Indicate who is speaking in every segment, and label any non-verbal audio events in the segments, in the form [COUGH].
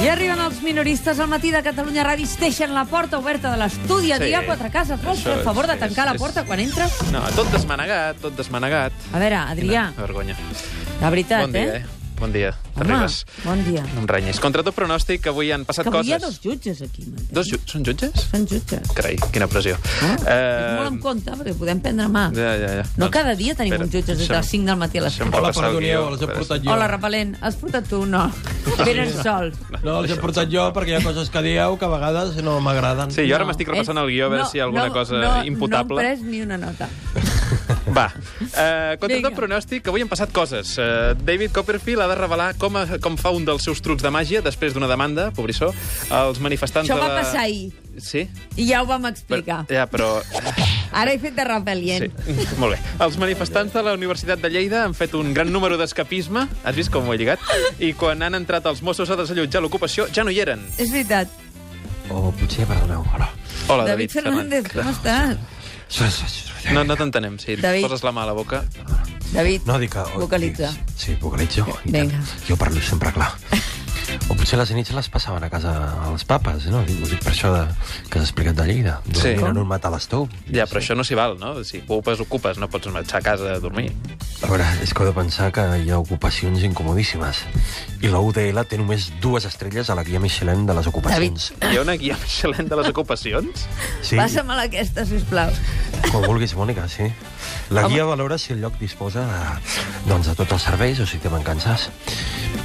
Speaker 1: I arriben els minoristes al matí de Catalunya Ràdio i deixen la porta oberta de l'estudi a
Speaker 2: Sí.
Speaker 1: dia quatre cases. Vols fer
Speaker 2: Això
Speaker 1: el favor de
Speaker 2: és-
Speaker 1: tancar la
Speaker 2: és-
Speaker 1: porta quan entres?
Speaker 2: No, tot desmanegat, tot desmanegat.
Speaker 1: A veure, Adrià,
Speaker 2: Quina vergonya.
Speaker 1: la veritat,
Speaker 2: Bon dia, eh? Bon dia.
Speaker 1: Home,
Speaker 2: T'arribes.
Speaker 1: bon dia.
Speaker 2: No em renyis. Contra tot pronòstic, avui han
Speaker 1: Que
Speaker 2: passat
Speaker 1: avui
Speaker 2: coses.
Speaker 1: hi ha dos jutges aquí. Martí.
Speaker 2: Dos ju- Són jutges?
Speaker 1: Són jutges.
Speaker 2: Carai, quina pressió.
Speaker 1: Ah,
Speaker 2: Eh,
Speaker 1: Molt en compte, perquè podem prendre mà.
Speaker 2: Ja, ja, ja.
Speaker 1: No cada dia tenim
Speaker 2: espera,
Speaker 1: un jutge des de
Speaker 2: deixa'm-
Speaker 1: les 5 del matí a les
Speaker 2: deixa'm
Speaker 1: 7.
Speaker 3: Hola,
Speaker 2: repassar el
Speaker 3: perdoneu,
Speaker 2: guió.
Speaker 3: els he
Speaker 2: Espera,
Speaker 3: portat jo.
Speaker 1: Hola, repel·lent. Has portat tu? No.
Speaker 2: [LAUGHS]
Speaker 1: Venen sol.
Speaker 3: No, els he portat jo perquè hi ha coses que dieu que a vegades no m'agraden.
Speaker 2: Sí, jo ara
Speaker 1: No,
Speaker 2: m'estic repassant el guió a veure
Speaker 1: no,
Speaker 2: si hi ha alguna
Speaker 1: no,
Speaker 2: cosa
Speaker 1: no,
Speaker 2: imputable.
Speaker 1: No he pres ni una nota.
Speaker 2: Va, eh, contra
Speaker 1: Vinga.
Speaker 2: tot pronòstic, avui han passat coses. Eh, David Copperfield ha de revelar com, eh, com fa un dels seus trucs de màgia després d'una demanda, pobrissó, als manifestants
Speaker 1: Això
Speaker 2: de la...
Speaker 1: va passar ahir.
Speaker 2: Sí?
Speaker 1: I ja ho vam
Speaker 2: Però,
Speaker 1: explicar.
Speaker 2: ja, però...
Speaker 1: Ara he fet de repel·lient.
Speaker 2: Sí, [LAUGHS] molt bé. Els manifestants de la Universitat de Lleida han fet un gran número d'escapisme, has vist com ho he lligat? I quan han entrat els Mossos a desallotjar l'ocupació, ja no hi eren.
Speaker 1: És veritat.
Speaker 3: O potser, perdoneu, hola.
Speaker 2: Hola, David,
Speaker 1: David, Fernández, com estàs?
Speaker 2: No, no t'entenem, si
Speaker 1: David.
Speaker 2: David. poses la mà a la boca.
Speaker 1: David,
Speaker 3: No, dic que...
Speaker 1: vocalitza.
Speaker 3: Sí, vocalitzo. i
Speaker 1: Vinga.
Speaker 3: tant. Jo parlo sempre clar. O potser les nits les passaven a casa els papes, no? Dic, ho dic per això de, que has explicat de Lleida.
Speaker 2: Sí.
Speaker 3: Dormien en un matalastou.
Speaker 2: Ja, però això no s'hi val, no? Si ocupes, ocupes, no pots marxar a casa a dormir.
Speaker 3: A veure, és que heu de pensar que hi ha ocupacions incomodíssimes. I la UDL té només dues estrelles a la guia Michelin de les ocupacions.
Speaker 2: Hi ha una guia [LAUGHS] Michelin de les ocupacions?
Speaker 3: Sí,
Speaker 1: Sí. Passa-me-la aquesta, sisplau.
Speaker 3: Quan vulguis, Mònica, sí. La guia valora si el lloc disposa de, doncs, de tots els serveis o si té mancances.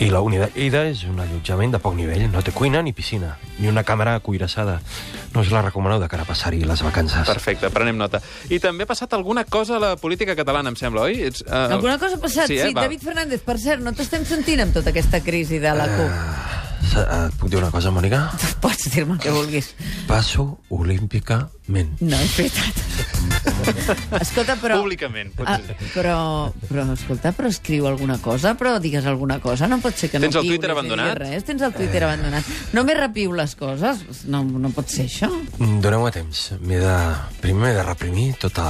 Speaker 3: I la Unida Ida és un allotjament de poc nivell. No té cuina ni piscina, ni una càmera cuirassada. No us la recomaneu de cara a passar-hi les vacances.
Speaker 2: Perfecte, prenem nota. I també ha passat alguna cosa a la política catalana, em sembla, oi? Ets, uh...
Speaker 1: Alguna cosa ha passat? Sí,
Speaker 2: eh? Va.
Speaker 1: David Fernández, per cert, no t'estem sentint amb tota aquesta crisi de la CUP.
Speaker 3: Se- eh, Et puc dir una cosa, Mònica?
Speaker 1: [LAUGHS] Pots dir-me el que vulguis.
Speaker 3: Passo olímpicament.
Speaker 1: No, és veritat.
Speaker 3: [LAUGHS]
Speaker 1: Escolta, però...
Speaker 2: Públicament,
Speaker 1: Ah,
Speaker 2: potser.
Speaker 1: però, però, escolta, però escriu alguna cosa, però digues alguna cosa. No pot ser que no
Speaker 2: Tens el Twitter
Speaker 1: piulis ni
Speaker 2: abandonat?
Speaker 1: diguis Res. Tens el
Speaker 3: Eh.
Speaker 1: Twitter abandonat. Només repiu les coses. No, no pot ser això.
Speaker 3: Mm, Doneu-me temps. M'he de... Primer m'he de reprimir tota,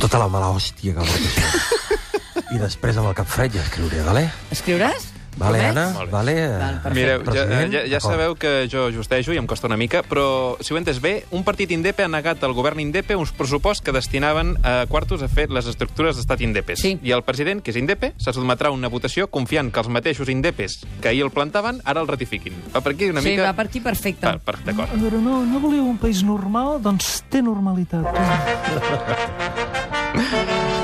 Speaker 3: tota la mala hòstia que porto. I després, amb el cap fred, ja escriuré, vale?
Speaker 1: Escriuràs?
Speaker 3: Vale,
Speaker 1: Promets?
Speaker 3: Anna?
Speaker 2: Molt bé.
Speaker 3: Vale. eh,
Speaker 1: Val, perfecte.
Speaker 2: Mireu, ja,
Speaker 3: President?
Speaker 2: ja, ja
Speaker 3: D'acord.
Speaker 2: sabeu que jo justejo i em costa una mica, però, si ho he entès bé, un partit indepe ha negat al govern indepe uns pressupost que destinaven a quartos a fer les estructures d'estat indepes.
Speaker 1: Sí.
Speaker 2: I el president, que és indepe, se sotmetrà a una votació confiant que els mateixos indepes que ahir el plantaven ara el ratifiquin. Va per aquí una
Speaker 1: Sí,
Speaker 2: mica...
Speaker 1: va per aquí perfecte.
Speaker 2: Per, per, D'acord.
Speaker 4: A veure, no, no voleu un país normal? Doncs té normalitat.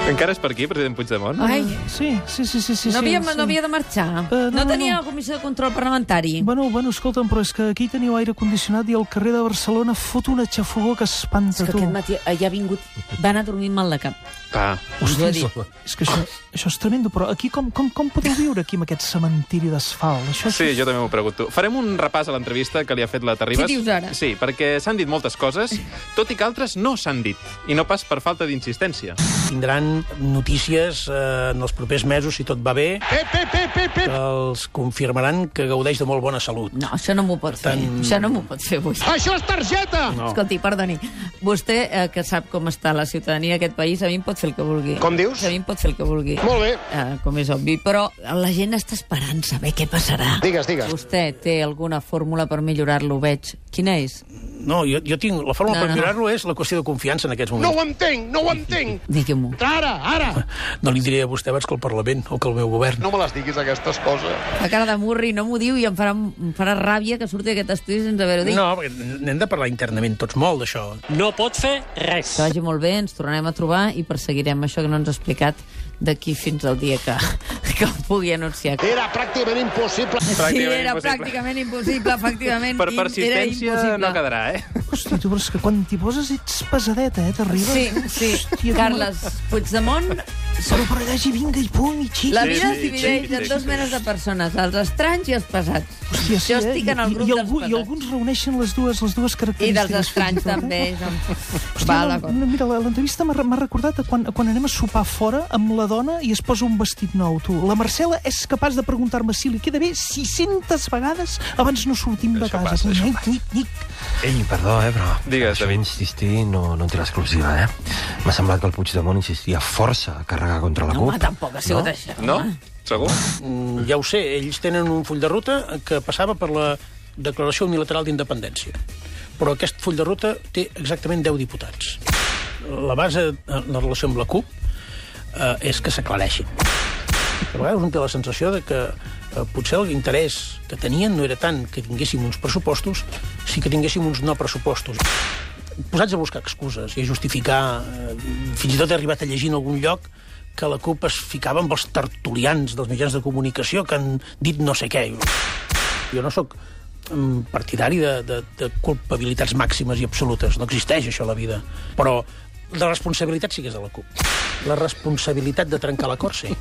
Speaker 2: Encara és per aquí, president Puigdemont?
Speaker 1: Ai,
Speaker 4: Sí, sí, sí, sí. sí
Speaker 1: no, havia,
Speaker 4: sí, sí.
Speaker 1: no havia de marxar.
Speaker 4: Eh,
Speaker 1: no,
Speaker 4: no, no,
Speaker 1: tenia
Speaker 4: no.
Speaker 1: la comissió de control parlamentari.
Speaker 4: Bueno, bueno, escolta'm, però és que aquí teniu aire condicionat i al carrer de Barcelona fot una xafogó que espanta,
Speaker 1: És que
Speaker 4: tu.
Speaker 1: aquest matí eh, ja ha vingut... Va anar dormint mal de cap.
Speaker 2: Ah,
Speaker 1: Us ho he
Speaker 4: Ostres,
Speaker 1: dit.
Speaker 4: és que això, això és tremendo, però aquí com, com, com podeu viure aquí amb aquest cementiri d'asfalt? Això és-
Speaker 2: Sí, jo també m'ho pregunto. Farem un repàs a l'entrevista que li ha fet la Terribas.
Speaker 1: Què dius ara?
Speaker 2: Sí, perquè s'han dit moltes coses, tot i que altres no s'han dit, i no pas per falta d'insistència.
Speaker 5: tindran notícies eh, en els propers mesos, si tot va bé,
Speaker 6: Pep, pep, pep, pep,
Speaker 5: que
Speaker 6: pep.
Speaker 5: els confirmaran que gaudeix de molt bona salut.
Speaker 1: No, això no m'ho pot fer.
Speaker 5: Tant-
Speaker 1: Això no m'ho pot fer avui.
Speaker 6: Això és targeta!
Speaker 1: No. [LAUGHS] Escolti, perdoni, vostè, eh, que sap com està la ciutadania d'aquest país, a mi em pot fer el que vulgui.
Speaker 6: Com dius?
Speaker 1: A mi em pot fer el que vulgui.
Speaker 6: Molt bé.
Speaker 1: Eh, com és obvi, però la gent està esperant saber què passarà.
Speaker 6: Digues, digues.
Speaker 1: Vostè té alguna fórmula per millorar-lo, veig. Quina és?
Speaker 5: No, jo, jo tinc... La forma
Speaker 1: No,
Speaker 5: no, per
Speaker 1: no, no.
Speaker 5: millorar-lo és la qüestió de confiança en aquests
Speaker 6: No
Speaker 5: moments.
Speaker 6: ho entenc, no ho entenc.
Speaker 1: Digui-m'ho.
Speaker 6: Ara, ara.
Speaker 5: No, no li diré a vostè abans que el Parlament o que el meu govern.
Speaker 6: No me les diguis, aquestes coses.
Speaker 1: La cara de murri no m'ho diu i em farà, em farà ràbia que surti d'aquest estudi sense haver-ho dit.
Speaker 5: No, perquè n'hem de parlar internament tots molt d'això.
Speaker 7: No pot fer res.
Speaker 1: Que vagi molt bé, ens tornarem a trobar i perseguirem això que no ens ha explicat d'aquí fins al dia que, [LAUGHS] que ho pugui anunciar.
Speaker 6: Era pràcticament impossible.
Speaker 1: Sí,
Speaker 2: Pràcticament
Speaker 1: era
Speaker 2: impossible.
Speaker 1: pràcticament impossible, efectivament.
Speaker 2: Per
Speaker 1: i
Speaker 2: persistència
Speaker 1: era
Speaker 2: no
Speaker 1: impossible.
Speaker 2: quedarà, eh?
Speaker 4: Hosti, tu, però és que quan t'hi poses ets pesadeta, eh, t'arribes?
Speaker 1: Sí, sí.
Speaker 4: Hòstia, tu.
Speaker 1: Carles Puigdemont,
Speaker 4: Però per allà, i vinga, i punt, i xic.
Speaker 1: la
Speaker 2: Sí,
Speaker 1: vida
Speaker 2: sí,
Speaker 1: es divideix
Speaker 2: sí, sí,
Speaker 1: en
Speaker 2: sí.
Speaker 1: dues menes de persones, els estranys i els pesats.
Speaker 4: Hòstia, sí,
Speaker 1: Jo
Speaker 4: eh?
Speaker 1: estic en el grup
Speaker 4: I, i,
Speaker 1: dels
Speaker 4: algú, I
Speaker 1: pesats.
Speaker 4: alguns reuneixen les dues, les dues
Speaker 1: I
Speaker 4: característiques.
Speaker 1: dels estranys també. Jo... Va,
Speaker 4: Hòstia, no,
Speaker 1: d'acord.
Speaker 4: no, mira, la- l'entrevista m'ha re- m'ha recordat a quan, a quan anem a sopar fora amb la dona i es posa un vestit nou, tu. La Marcela és capaç de preguntar-me si li queda bé 600 vegades abans no sortim de
Speaker 2: Això
Speaker 4: casa.
Speaker 2: passa, això
Speaker 4: Nic, nic, nic.
Speaker 3: Ei, perdó, eh, però...
Speaker 2: Digues,
Speaker 3: això
Speaker 2: David.
Speaker 3: Insistir no, no té l'exclusiva, eh? M'ha semblat que el Puigdemont insistia força que carregar contra la
Speaker 1: No, home,
Speaker 3: CUP.
Speaker 1: tampoc ha sigut no? això.
Speaker 2: No?
Speaker 1: home.
Speaker 2: Segur?
Speaker 5: Mm, Ja ho sé, ells tenen un full de ruta que passava per la Declaració Unilateral d'Independència. Però aquest full de ruta té exactament 10 diputats. La base en la relació amb la CUP eh, és que s'aclareixin. A vegades un té la sensació de que eh, potser l'interès que tenien no era tant que tinguéssim uns pressupostos, sí que tinguéssim uns no pressupostos. Posats a buscar excuses i a justificar... Eh, fins i tot he arribat a llegir en algun lloc que la CUP es ficava amb els tertulians dels mitjans de comunicació que han dit no sé què. Jo no sóc mm, partidari de, de, de culpabilitats màximes i absolutes. No existeix això a la vida. Però la responsabilitat sí que és de la CUP. La responsabilitat de trencar l'acord, sí.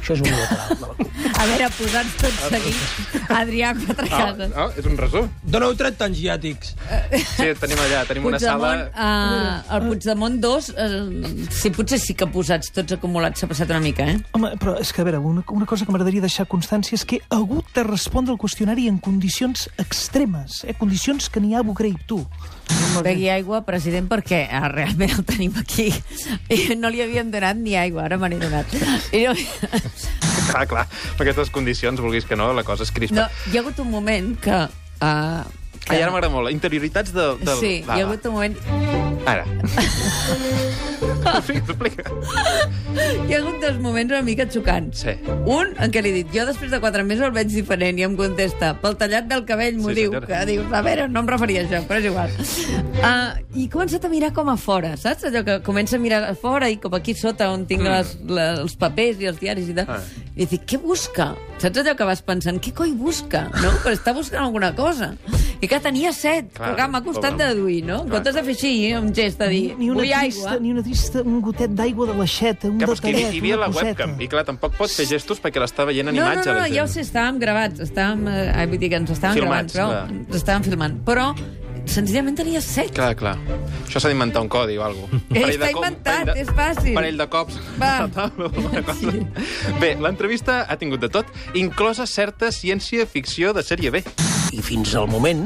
Speaker 5: Això és unilateral de la CUP.
Speaker 1: A veure, posats tot seguit. Adrià, quatre cases.
Speaker 2: Ah, és un resum.
Speaker 3: Doneu 30 anys llátics.
Speaker 2: Sí, tenim allà, tenim una
Speaker 1: Puigdemont,
Speaker 2: sala...
Speaker 1: eh, el Puigdemont 2, eh, sí, potser sí que posats tots acumulats s'ha passat una mica, eh?
Speaker 4: Home, però és que, a veure, una, una cosa que m'agradaria deixar constància és que he hagut de respondre el qüestionari en condicions extremes, eh? condicions que n'hi ha a Bucre i tu.
Speaker 1: Begui aigua, president, perquè eh, realment el tenim aquí. I no li havíem donat ni aigua, ara me n'he donat. I no,
Speaker 2: [LAUGHS] Clar, clar, amb aquestes condicions, vulguis que no, la cosa es crispa.
Speaker 1: ah. no, hi ha hagut un moment que... Uh,
Speaker 2: Ai, ara m'agrada molt. Interioritats de... de...
Speaker 1: Sí, hi ha hagut un moment... [LAUGHS]
Speaker 2: Ara. Explica, explica.
Speaker 1: Hi ha hagut dos moments una mica xocants.
Speaker 2: Sí.
Speaker 1: Un en què li he dit, jo després de quatre mesos el veig diferent, i em contesta, pel tallat del cabell m'ho
Speaker 2: Sí,
Speaker 1: diu,
Speaker 2: senyora.
Speaker 1: que dius, a veure, no em referia a això, però és igual. Uh, I he començat a mirar com a fora, saps? Allò que comença a mirar a fora i com aquí sota on tinc les, les, els papers i els diaris i tal.
Speaker 2: Mm. Ah.
Speaker 1: I dic, què busca? Saps allò que vas pensant, què coi busca? No? Però està buscant alguna cosa. I que tenia set,
Speaker 2: Clar,
Speaker 1: però que m'ha costat
Speaker 2: pobre.
Speaker 1: de deduir, no? En
Speaker 2: Clar.
Speaker 1: comptes de fer així, un gest de dir,
Speaker 4: Ni una
Speaker 1: vull
Speaker 4: trista,
Speaker 1: aigua.
Speaker 4: ni una trista, un gotet d'aigua de l'aixeta, un
Speaker 2: Que, però és que hi,
Speaker 4: detallet,
Speaker 2: hi havia
Speaker 4: una
Speaker 2: la
Speaker 4: coseta.
Speaker 2: webcam, i clar, tampoc pots fer gestos perquè l'està veient en
Speaker 1: no,
Speaker 2: imatge.
Speaker 1: No, no,
Speaker 2: la
Speaker 1: no,
Speaker 2: gent.
Speaker 1: ja ho sé, estàvem gravats, estàvem, eh, vull dir que ens estàvem
Speaker 2: Filmats,
Speaker 1: gravant, però
Speaker 2: clar.
Speaker 1: ens estàvem filmant. Però, senzillament, tenia set.
Speaker 2: Clar, clar. Això s'ha d'inventar un codi o alguna cosa.
Speaker 1: Eh, està inventat, és fàcil.
Speaker 2: Parell de cops. [LAUGHS]
Speaker 1: Va.
Speaker 2: a la taula, alguna cosa.
Speaker 1: Sí.
Speaker 2: Bé, l'entrevista ha tingut de tot, inclosa certa ciència-ficció de sèrie B.
Speaker 5: i fins al moment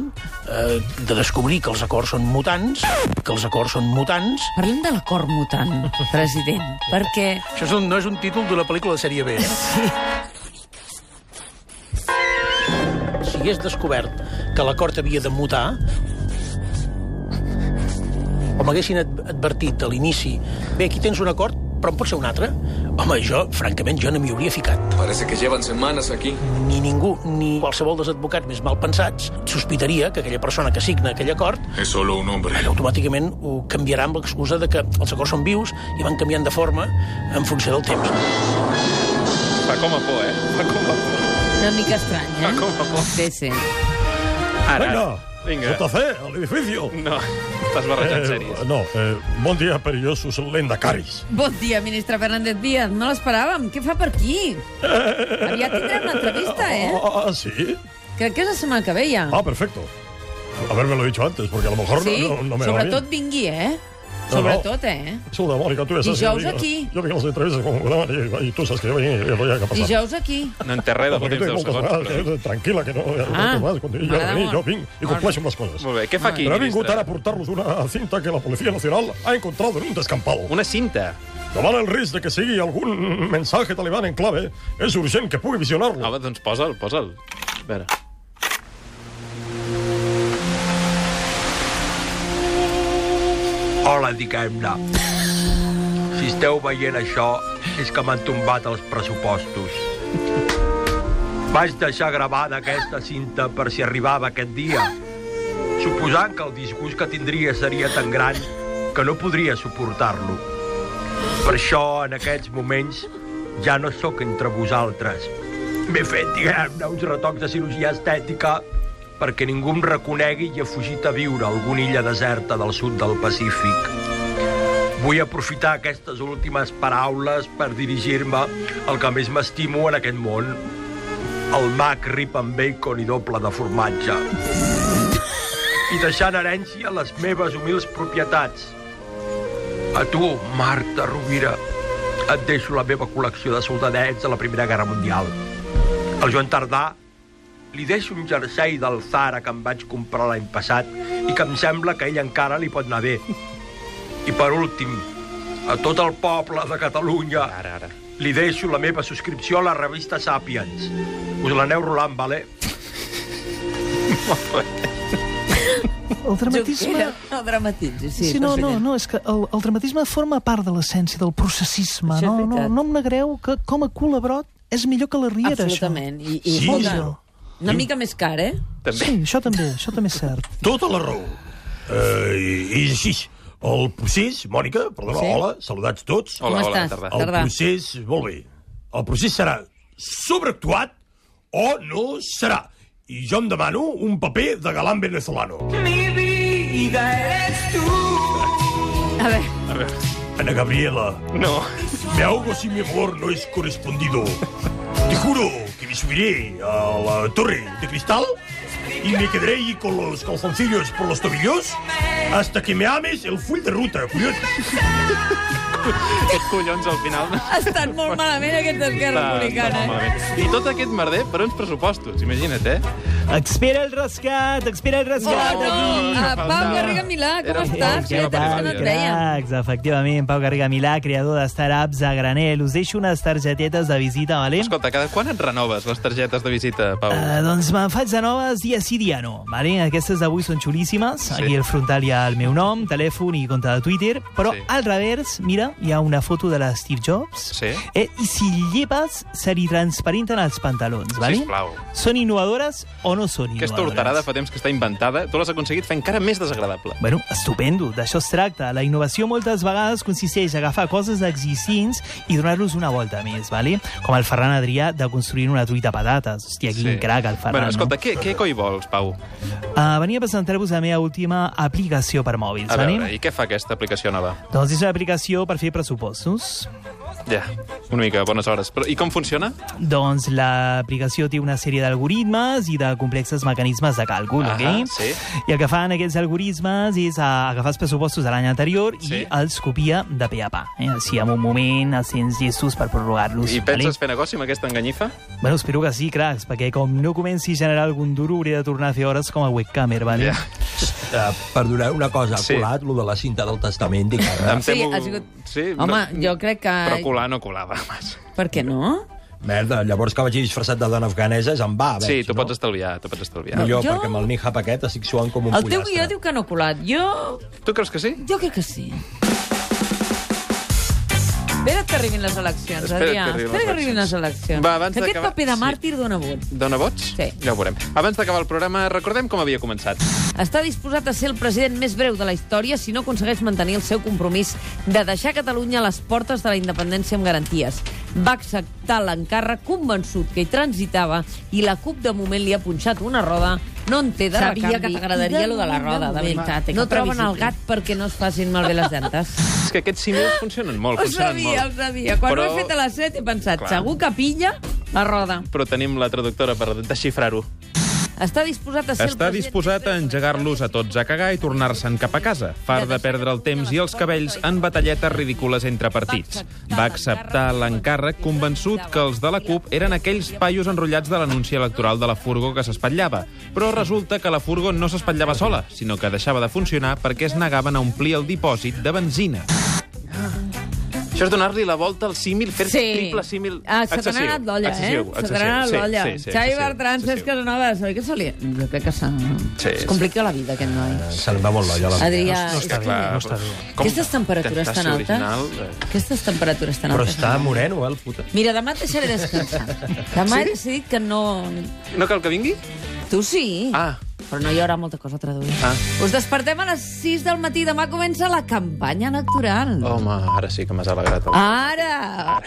Speaker 5: eh, de descobrir que els acords són mutants, que els acords són mutants...
Speaker 1: Parlem de l'acord mutant, president, perquè...
Speaker 5: Això és un, no és un títol d'una pel·lícula de sèrie B. Eh? Si hagués descobert que l'acord havia de mutar, o m'haguessin ad- advertit a l'inici bé, aquí tens un acord, però en pot ser un altre, home, jo, francament, jo no m'hi hauria ficat.
Speaker 8: Parece que llevan semanas aquí.
Speaker 5: Ni ningú, ni qualsevol dels advocats més mal pensats sospitaria que aquella persona que signa aquell acord
Speaker 8: Es solo un hombre.
Speaker 5: que automàticament ho canviarà amb l'excusa de que els acords són vius i van canviant de forma en funció del temps.
Speaker 2: Fa com a por, eh? Fa com a por.
Speaker 1: Una mica estrany, eh?
Speaker 2: Ah, com a por.
Speaker 1: Sí, sí.
Speaker 2: Ara,
Speaker 9: Vinga,
Speaker 2: ara. Vinga.
Speaker 9: JC, al edificio.
Speaker 2: No, estàs barrejant sèries.
Speaker 9: no, eh, bon dia, perillosos lendacaris.
Speaker 1: Bon dia, ministre Fernández Díaz. No l'esperàvem. Què fa per aquí? Aviat tindrem una entrevista, eh?
Speaker 9: Ah, sí?
Speaker 1: Crec que és la setmana que ve, ja.
Speaker 9: Ah, perfecto. Habérmelo dicho antes, porque a lo mejor
Speaker 1: sí?
Speaker 9: no, no, no me va
Speaker 1: Sobretot
Speaker 9: bien.
Speaker 1: vingui, eh?
Speaker 9: No, no.
Speaker 1: Sobretot, eh?
Speaker 9: Saluda, Mónica, tú eres
Speaker 1: Dijous
Speaker 9: así,
Speaker 1: aquí.
Speaker 9: Yo, yo vengo a las entrevistas como quedaban y, y tú sabes que yo venía y el rollo que ha pasado.
Speaker 1: Dijous aquí.
Speaker 2: No en té res de
Speaker 9: Porque
Speaker 2: fotins
Speaker 9: tengo
Speaker 2: deu
Speaker 9: cosas
Speaker 2: segons.
Speaker 9: más,
Speaker 2: Però...
Speaker 9: eh, tranquila, que no...
Speaker 1: Ah,
Speaker 9: no más, cuando yo
Speaker 1: m'agrada
Speaker 9: vení,
Speaker 1: molt.
Speaker 9: yo vin y compleixo amb les coses.
Speaker 2: Molt bé, què fa aquí,
Speaker 9: Pero eh. ha vingut
Speaker 2: ministre?
Speaker 9: ara a portar-los una cinta que la Policia Nacional ha encontrado en un descampado.
Speaker 2: Una cinta.
Speaker 9: Davant el risc de que sigui algun mensaje talibán en clave, és urgent que pugui visionar-lo.
Speaker 2: Home, doncs posa'l, posa'l. A veure.
Speaker 10: Hola, diguem-ne. Si esteu veient això, és que m'han tombat els pressupostos. Vaig deixar gravada aquesta cinta per si arribava aquest dia, suposant que el disgust que tindria seria tan gran que no podria suportar-lo. Per això, en aquests moments, ja no sóc entre vosaltres. M'he fet, diguem-ne, uns retocs de cirurgia estètica perquè ningú em reconegui i he fugit a viure a alguna illa deserta del sud del Pacífic. Vull aprofitar aquestes últimes paraules per dirigir-me al que més m'estimo en aquest món, el mac rip amb bacon i doble de formatge. I deixar en herència les meves humils propietats. A tu, Marta Rovira, et deixo la meva col·lecció de soldadets de la Primera Guerra Mundial. Al Joan Tardà li deixo un jersei del Zara que em vaig comprar l'any passat i que em sembla que a ell encara li pot anar bé. I per últim, a tot el poble de Catalunya.
Speaker 2: Ara, ara.
Speaker 10: Li deixo la meva subscripció a la revista Sapiens. Us l'aneu rolant, vale?
Speaker 4: El dramatisme...
Speaker 1: Junquera, no dramatitzis, sí,
Speaker 4: Sí, no, no,
Speaker 1: president.
Speaker 4: no, és que el, el dramatisme forma part de l'essència del processisme.
Speaker 1: Això és
Speaker 4: No, no,
Speaker 1: veritat.
Speaker 4: no em negreu que com a culebrot és millor que la Riera,
Speaker 1: Absolutament. I, i
Speaker 9: Sí,
Speaker 1: escolta,
Speaker 4: això.
Speaker 1: una mica més car, eh?
Speaker 4: això. Sí, això també, això també és cert.
Speaker 9: Tota la raó. Eh, i, I així, el procés, Mònica, perdona,
Speaker 1: Sí.
Speaker 9: sí. hola, saludats tots.
Speaker 2: Hola,
Speaker 1: Com
Speaker 2: hola,
Speaker 1: estàs?
Speaker 2: bona tarda.
Speaker 9: El
Speaker 1: Tardà.
Speaker 9: procés, molt bé, el procés serà sobreactuat o no serà. I jo em demano un paper de galán venezolano.
Speaker 1: A veure,
Speaker 9: Ana Gabriela,
Speaker 2: No.
Speaker 9: me ahogo si mi amor no es correspondido. Te juro que me subiré a la torre de cristal y me quedaré ahí con los calzoncillos por los tobillos hasta que me ames el full de ruta, collons.
Speaker 2: Aquests collons al final.
Speaker 1: estan molt malament aquests
Speaker 2: Està-
Speaker 1: d'Esquerra
Speaker 2: està
Speaker 1: Republicana.
Speaker 2: molt
Speaker 1: eh?
Speaker 2: malament. I tot aquest merder per uns pressupostos, imagina't, eh?
Speaker 11: Expira el rescat, expira el
Speaker 1: Oh,
Speaker 11: rescat.
Speaker 1: no!
Speaker 11: aquí.
Speaker 1: Ah, Pau Garriga Milà, com
Speaker 2: Era un
Speaker 1: estàs?
Speaker 2: bon
Speaker 1: Feia temps que no et
Speaker 2: dia.
Speaker 1: veiem.
Speaker 11: Cracs, efectivament, Pau Garriga Milà, creador de startups a granel. Us deixo unes targetetes de visita, valent?
Speaker 2: Escolta, cada quan et renoves les targetes de visita, Pau?
Speaker 11: Uh, doncs me'n faig de noves dia sí, dia no. Vale? Aquestes d'avui són xulíssimes.
Speaker 2: Sí.
Speaker 11: Sí. Aquí al frontal hi ha el meu nom, telèfon i compte de Twitter. Però
Speaker 2: Sí.
Speaker 11: sí. al revers, mira, hi ha una foto de la Steve Jobs.
Speaker 2: Sí.
Speaker 11: Eh, I si llepes, se li transparenten els pantalons. Vale?
Speaker 2: Sisplau.
Speaker 11: Són innovadores o no són innovadores?
Speaker 2: Aquesta horterada fa temps que està inventada. Tu l'has aconseguit fer encara més desagradable.
Speaker 11: Bueno, estupendo, d'això es tracta. La innovació moltes vegades consisteix a agafar coses existents i donar-los una volta més, vale? com el Ferran Adrià de construir una truita a patates. Hòstia, quin sí. crac el Ferran.
Speaker 2: Bueno,
Speaker 11: no?
Speaker 2: escolta, què, què coi vols, Pau?
Speaker 11: Uh, venia a presentar-vos la meva última aplicació per mòbils.
Speaker 2: A
Speaker 11: anem?
Speaker 2: veure, i què fa aquesta aplicació nova?
Speaker 11: Doncs és una aplicació per fer pressupostos.
Speaker 2: Ja, una mica, bones hores. Però, I com funciona?
Speaker 11: Doncs l'aplicació té una sèrie d'algoritmes i de complexes mecanismes de càlcul,
Speaker 2: Ahà,
Speaker 11: ok?
Speaker 2: sí.
Speaker 11: I el que fan aquests algoritmes és eh, agafar els pressupostos de l'any anterior
Speaker 2: Sí.
Speaker 11: i els copia de pe a pa. Eh? Així, en un moment, els tens llestos per prorrogar-los.
Speaker 2: I penses fer negoci amb aquesta enganyifa?
Speaker 11: Vale? Bueno, espero que sí, cracs, perquè com no comenci a generar algun duro, hauré de tornar a fer hores com a webcamer, vale?
Speaker 2: Ja.
Speaker 10: Eh, perdoneu una cosa,
Speaker 2: Sí.
Speaker 10: sí. colat lo de la cinta del testament, dic, ara.
Speaker 2: Em
Speaker 1: Sí,
Speaker 2: temo-
Speaker 1: ha sigut...
Speaker 2: Sí,
Speaker 1: Home, eh,
Speaker 2: no-
Speaker 1: jo crec que...
Speaker 2: Però colar no colava, mas.
Speaker 1: Per què no?
Speaker 10: Merda, llavors que vagi disfressat de dona afganesa és en va, Ah, veig,
Speaker 2: Sí, t'ho
Speaker 10: no?
Speaker 2: pots estalviar, t'ho pots estalviar.
Speaker 10: Millor,
Speaker 1: Jo-
Speaker 10: jo... perquè amb el nihab aquest estic suant com un
Speaker 1: El teu guió
Speaker 10: pollastre.
Speaker 1: diu que no ha colat. Jo...
Speaker 2: Tu creus que sí?
Speaker 1: Jo crec que sí. Espera't que arribin les eleccions,
Speaker 2: Espera't que
Speaker 1: Adrià.
Speaker 2: arribin les
Speaker 1: Espera que arribin
Speaker 2: eleccions.
Speaker 1: les eleccions.
Speaker 2: Va, abans
Speaker 1: que aquest
Speaker 2: d'acabar-
Speaker 1: paper de
Speaker 2: sí.
Speaker 1: màrtir dona vot.
Speaker 2: Dona vots?
Speaker 1: Sí.
Speaker 2: Ja ho veurem. Abans d'acabar el programa, recordem com havia començat.
Speaker 1: Està disposat a ser el president més breu de la història si no aconsegueix mantenir el seu compromís de deixar Catalunya a les portes de la independència amb garanties. Va acceptar l'encàrrec convençut que hi transitava i la CUP de moment li ha punxat una roda no en té de
Speaker 12: Sabia
Speaker 1: recanvi.
Speaker 12: que t'agradaria
Speaker 1: I
Speaker 12: lo de la roda, de
Speaker 1: moment
Speaker 12: veritat, eh,
Speaker 1: No
Speaker 12: que
Speaker 1: troben el
Speaker 12: previsible.
Speaker 1: gat perquè no es facin malbé les dentes.
Speaker 2: És que aquests símils funcionen molt,
Speaker 1: Ho
Speaker 2: funcionen
Speaker 1: sabia, ho
Speaker 2: molt.
Speaker 1: sabia. Quan
Speaker 2: Però-
Speaker 1: ho he fet a les 7 he pensat,
Speaker 2: Clar.
Speaker 1: Clar. segur que pilla la roda.
Speaker 2: Però tenim la traductora per desxifrar-ho.
Speaker 1: Està disposat a ser el
Speaker 13: Està
Speaker 1: president
Speaker 13: disposat a
Speaker 1: més breu de la
Speaker 13: engegar-los a tots a cagar i tornar-se'n cap a casa, fart de perdre el temps i els cabells en batalletes ridícules entre partits. Va acceptar l'encàrrec convençut que els de la CUP eren aquells paios enrotllats de l'anunci electoral de la furgo que s'espatllava. Però resulta que la furgo no s'espatllava sola, sinó que deixava de funcionar perquè es negaven a omplir el dipòsit de benzina.
Speaker 2: Això és donar-li la volta al símil, fer sí. triple símil
Speaker 1: Ah, se t'ha
Speaker 2: excessiu.
Speaker 1: anat l'olla, eh?
Speaker 2: Excessiu,
Speaker 1: Se t'ha anat
Speaker 2: excessiu.
Speaker 1: l'olla.
Speaker 2: Sí, sí, sí,
Speaker 1: Xavi
Speaker 2: excessiu,
Speaker 1: Bertran, Cesc
Speaker 2: excessiu.
Speaker 1: Casanovas, oi que se li... Jo crec que se...
Speaker 2: Sí,
Speaker 1: es
Speaker 2: sí.
Speaker 1: complica la vida, aquest noi.
Speaker 10: Eh, Se li va molt l'olla. la veritat.
Speaker 1: Adrià,
Speaker 3: no està
Speaker 1: és que-
Speaker 3: clar, no està
Speaker 2: però-
Speaker 3: bé.
Speaker 2: com
Speaker 1: aquestes temperatures
Speaker 2: intentar
Speaker 1: tan
Speaker 2: ser
Speaker 1: altes...
Speaker 2: original, eh?
Speaker 1: Aquestes temperatures tan
Speaker 10: Però
Speaker 1: altes...
Speaker 10: està moreno, eh, el puta.
Speaker 1: Mira, demà et deixaré descansar. Demà he decidit que no...
Speaker 2: No cal que vingui?
Speaker 1: Tu sí.
Speaker 2: Ah.
Speaker 1: Però no hi haurà molta cosa a traduir.
Speaker 2: Ah.
Speaker 1: Us despertem a les 6 del
Speaker 2: Oh.
Speaker 1: matí. Demà comença la campanya electoral.
Speaker 2: Home, ara sí que m'has alegrat.
Speaker 1: Ara!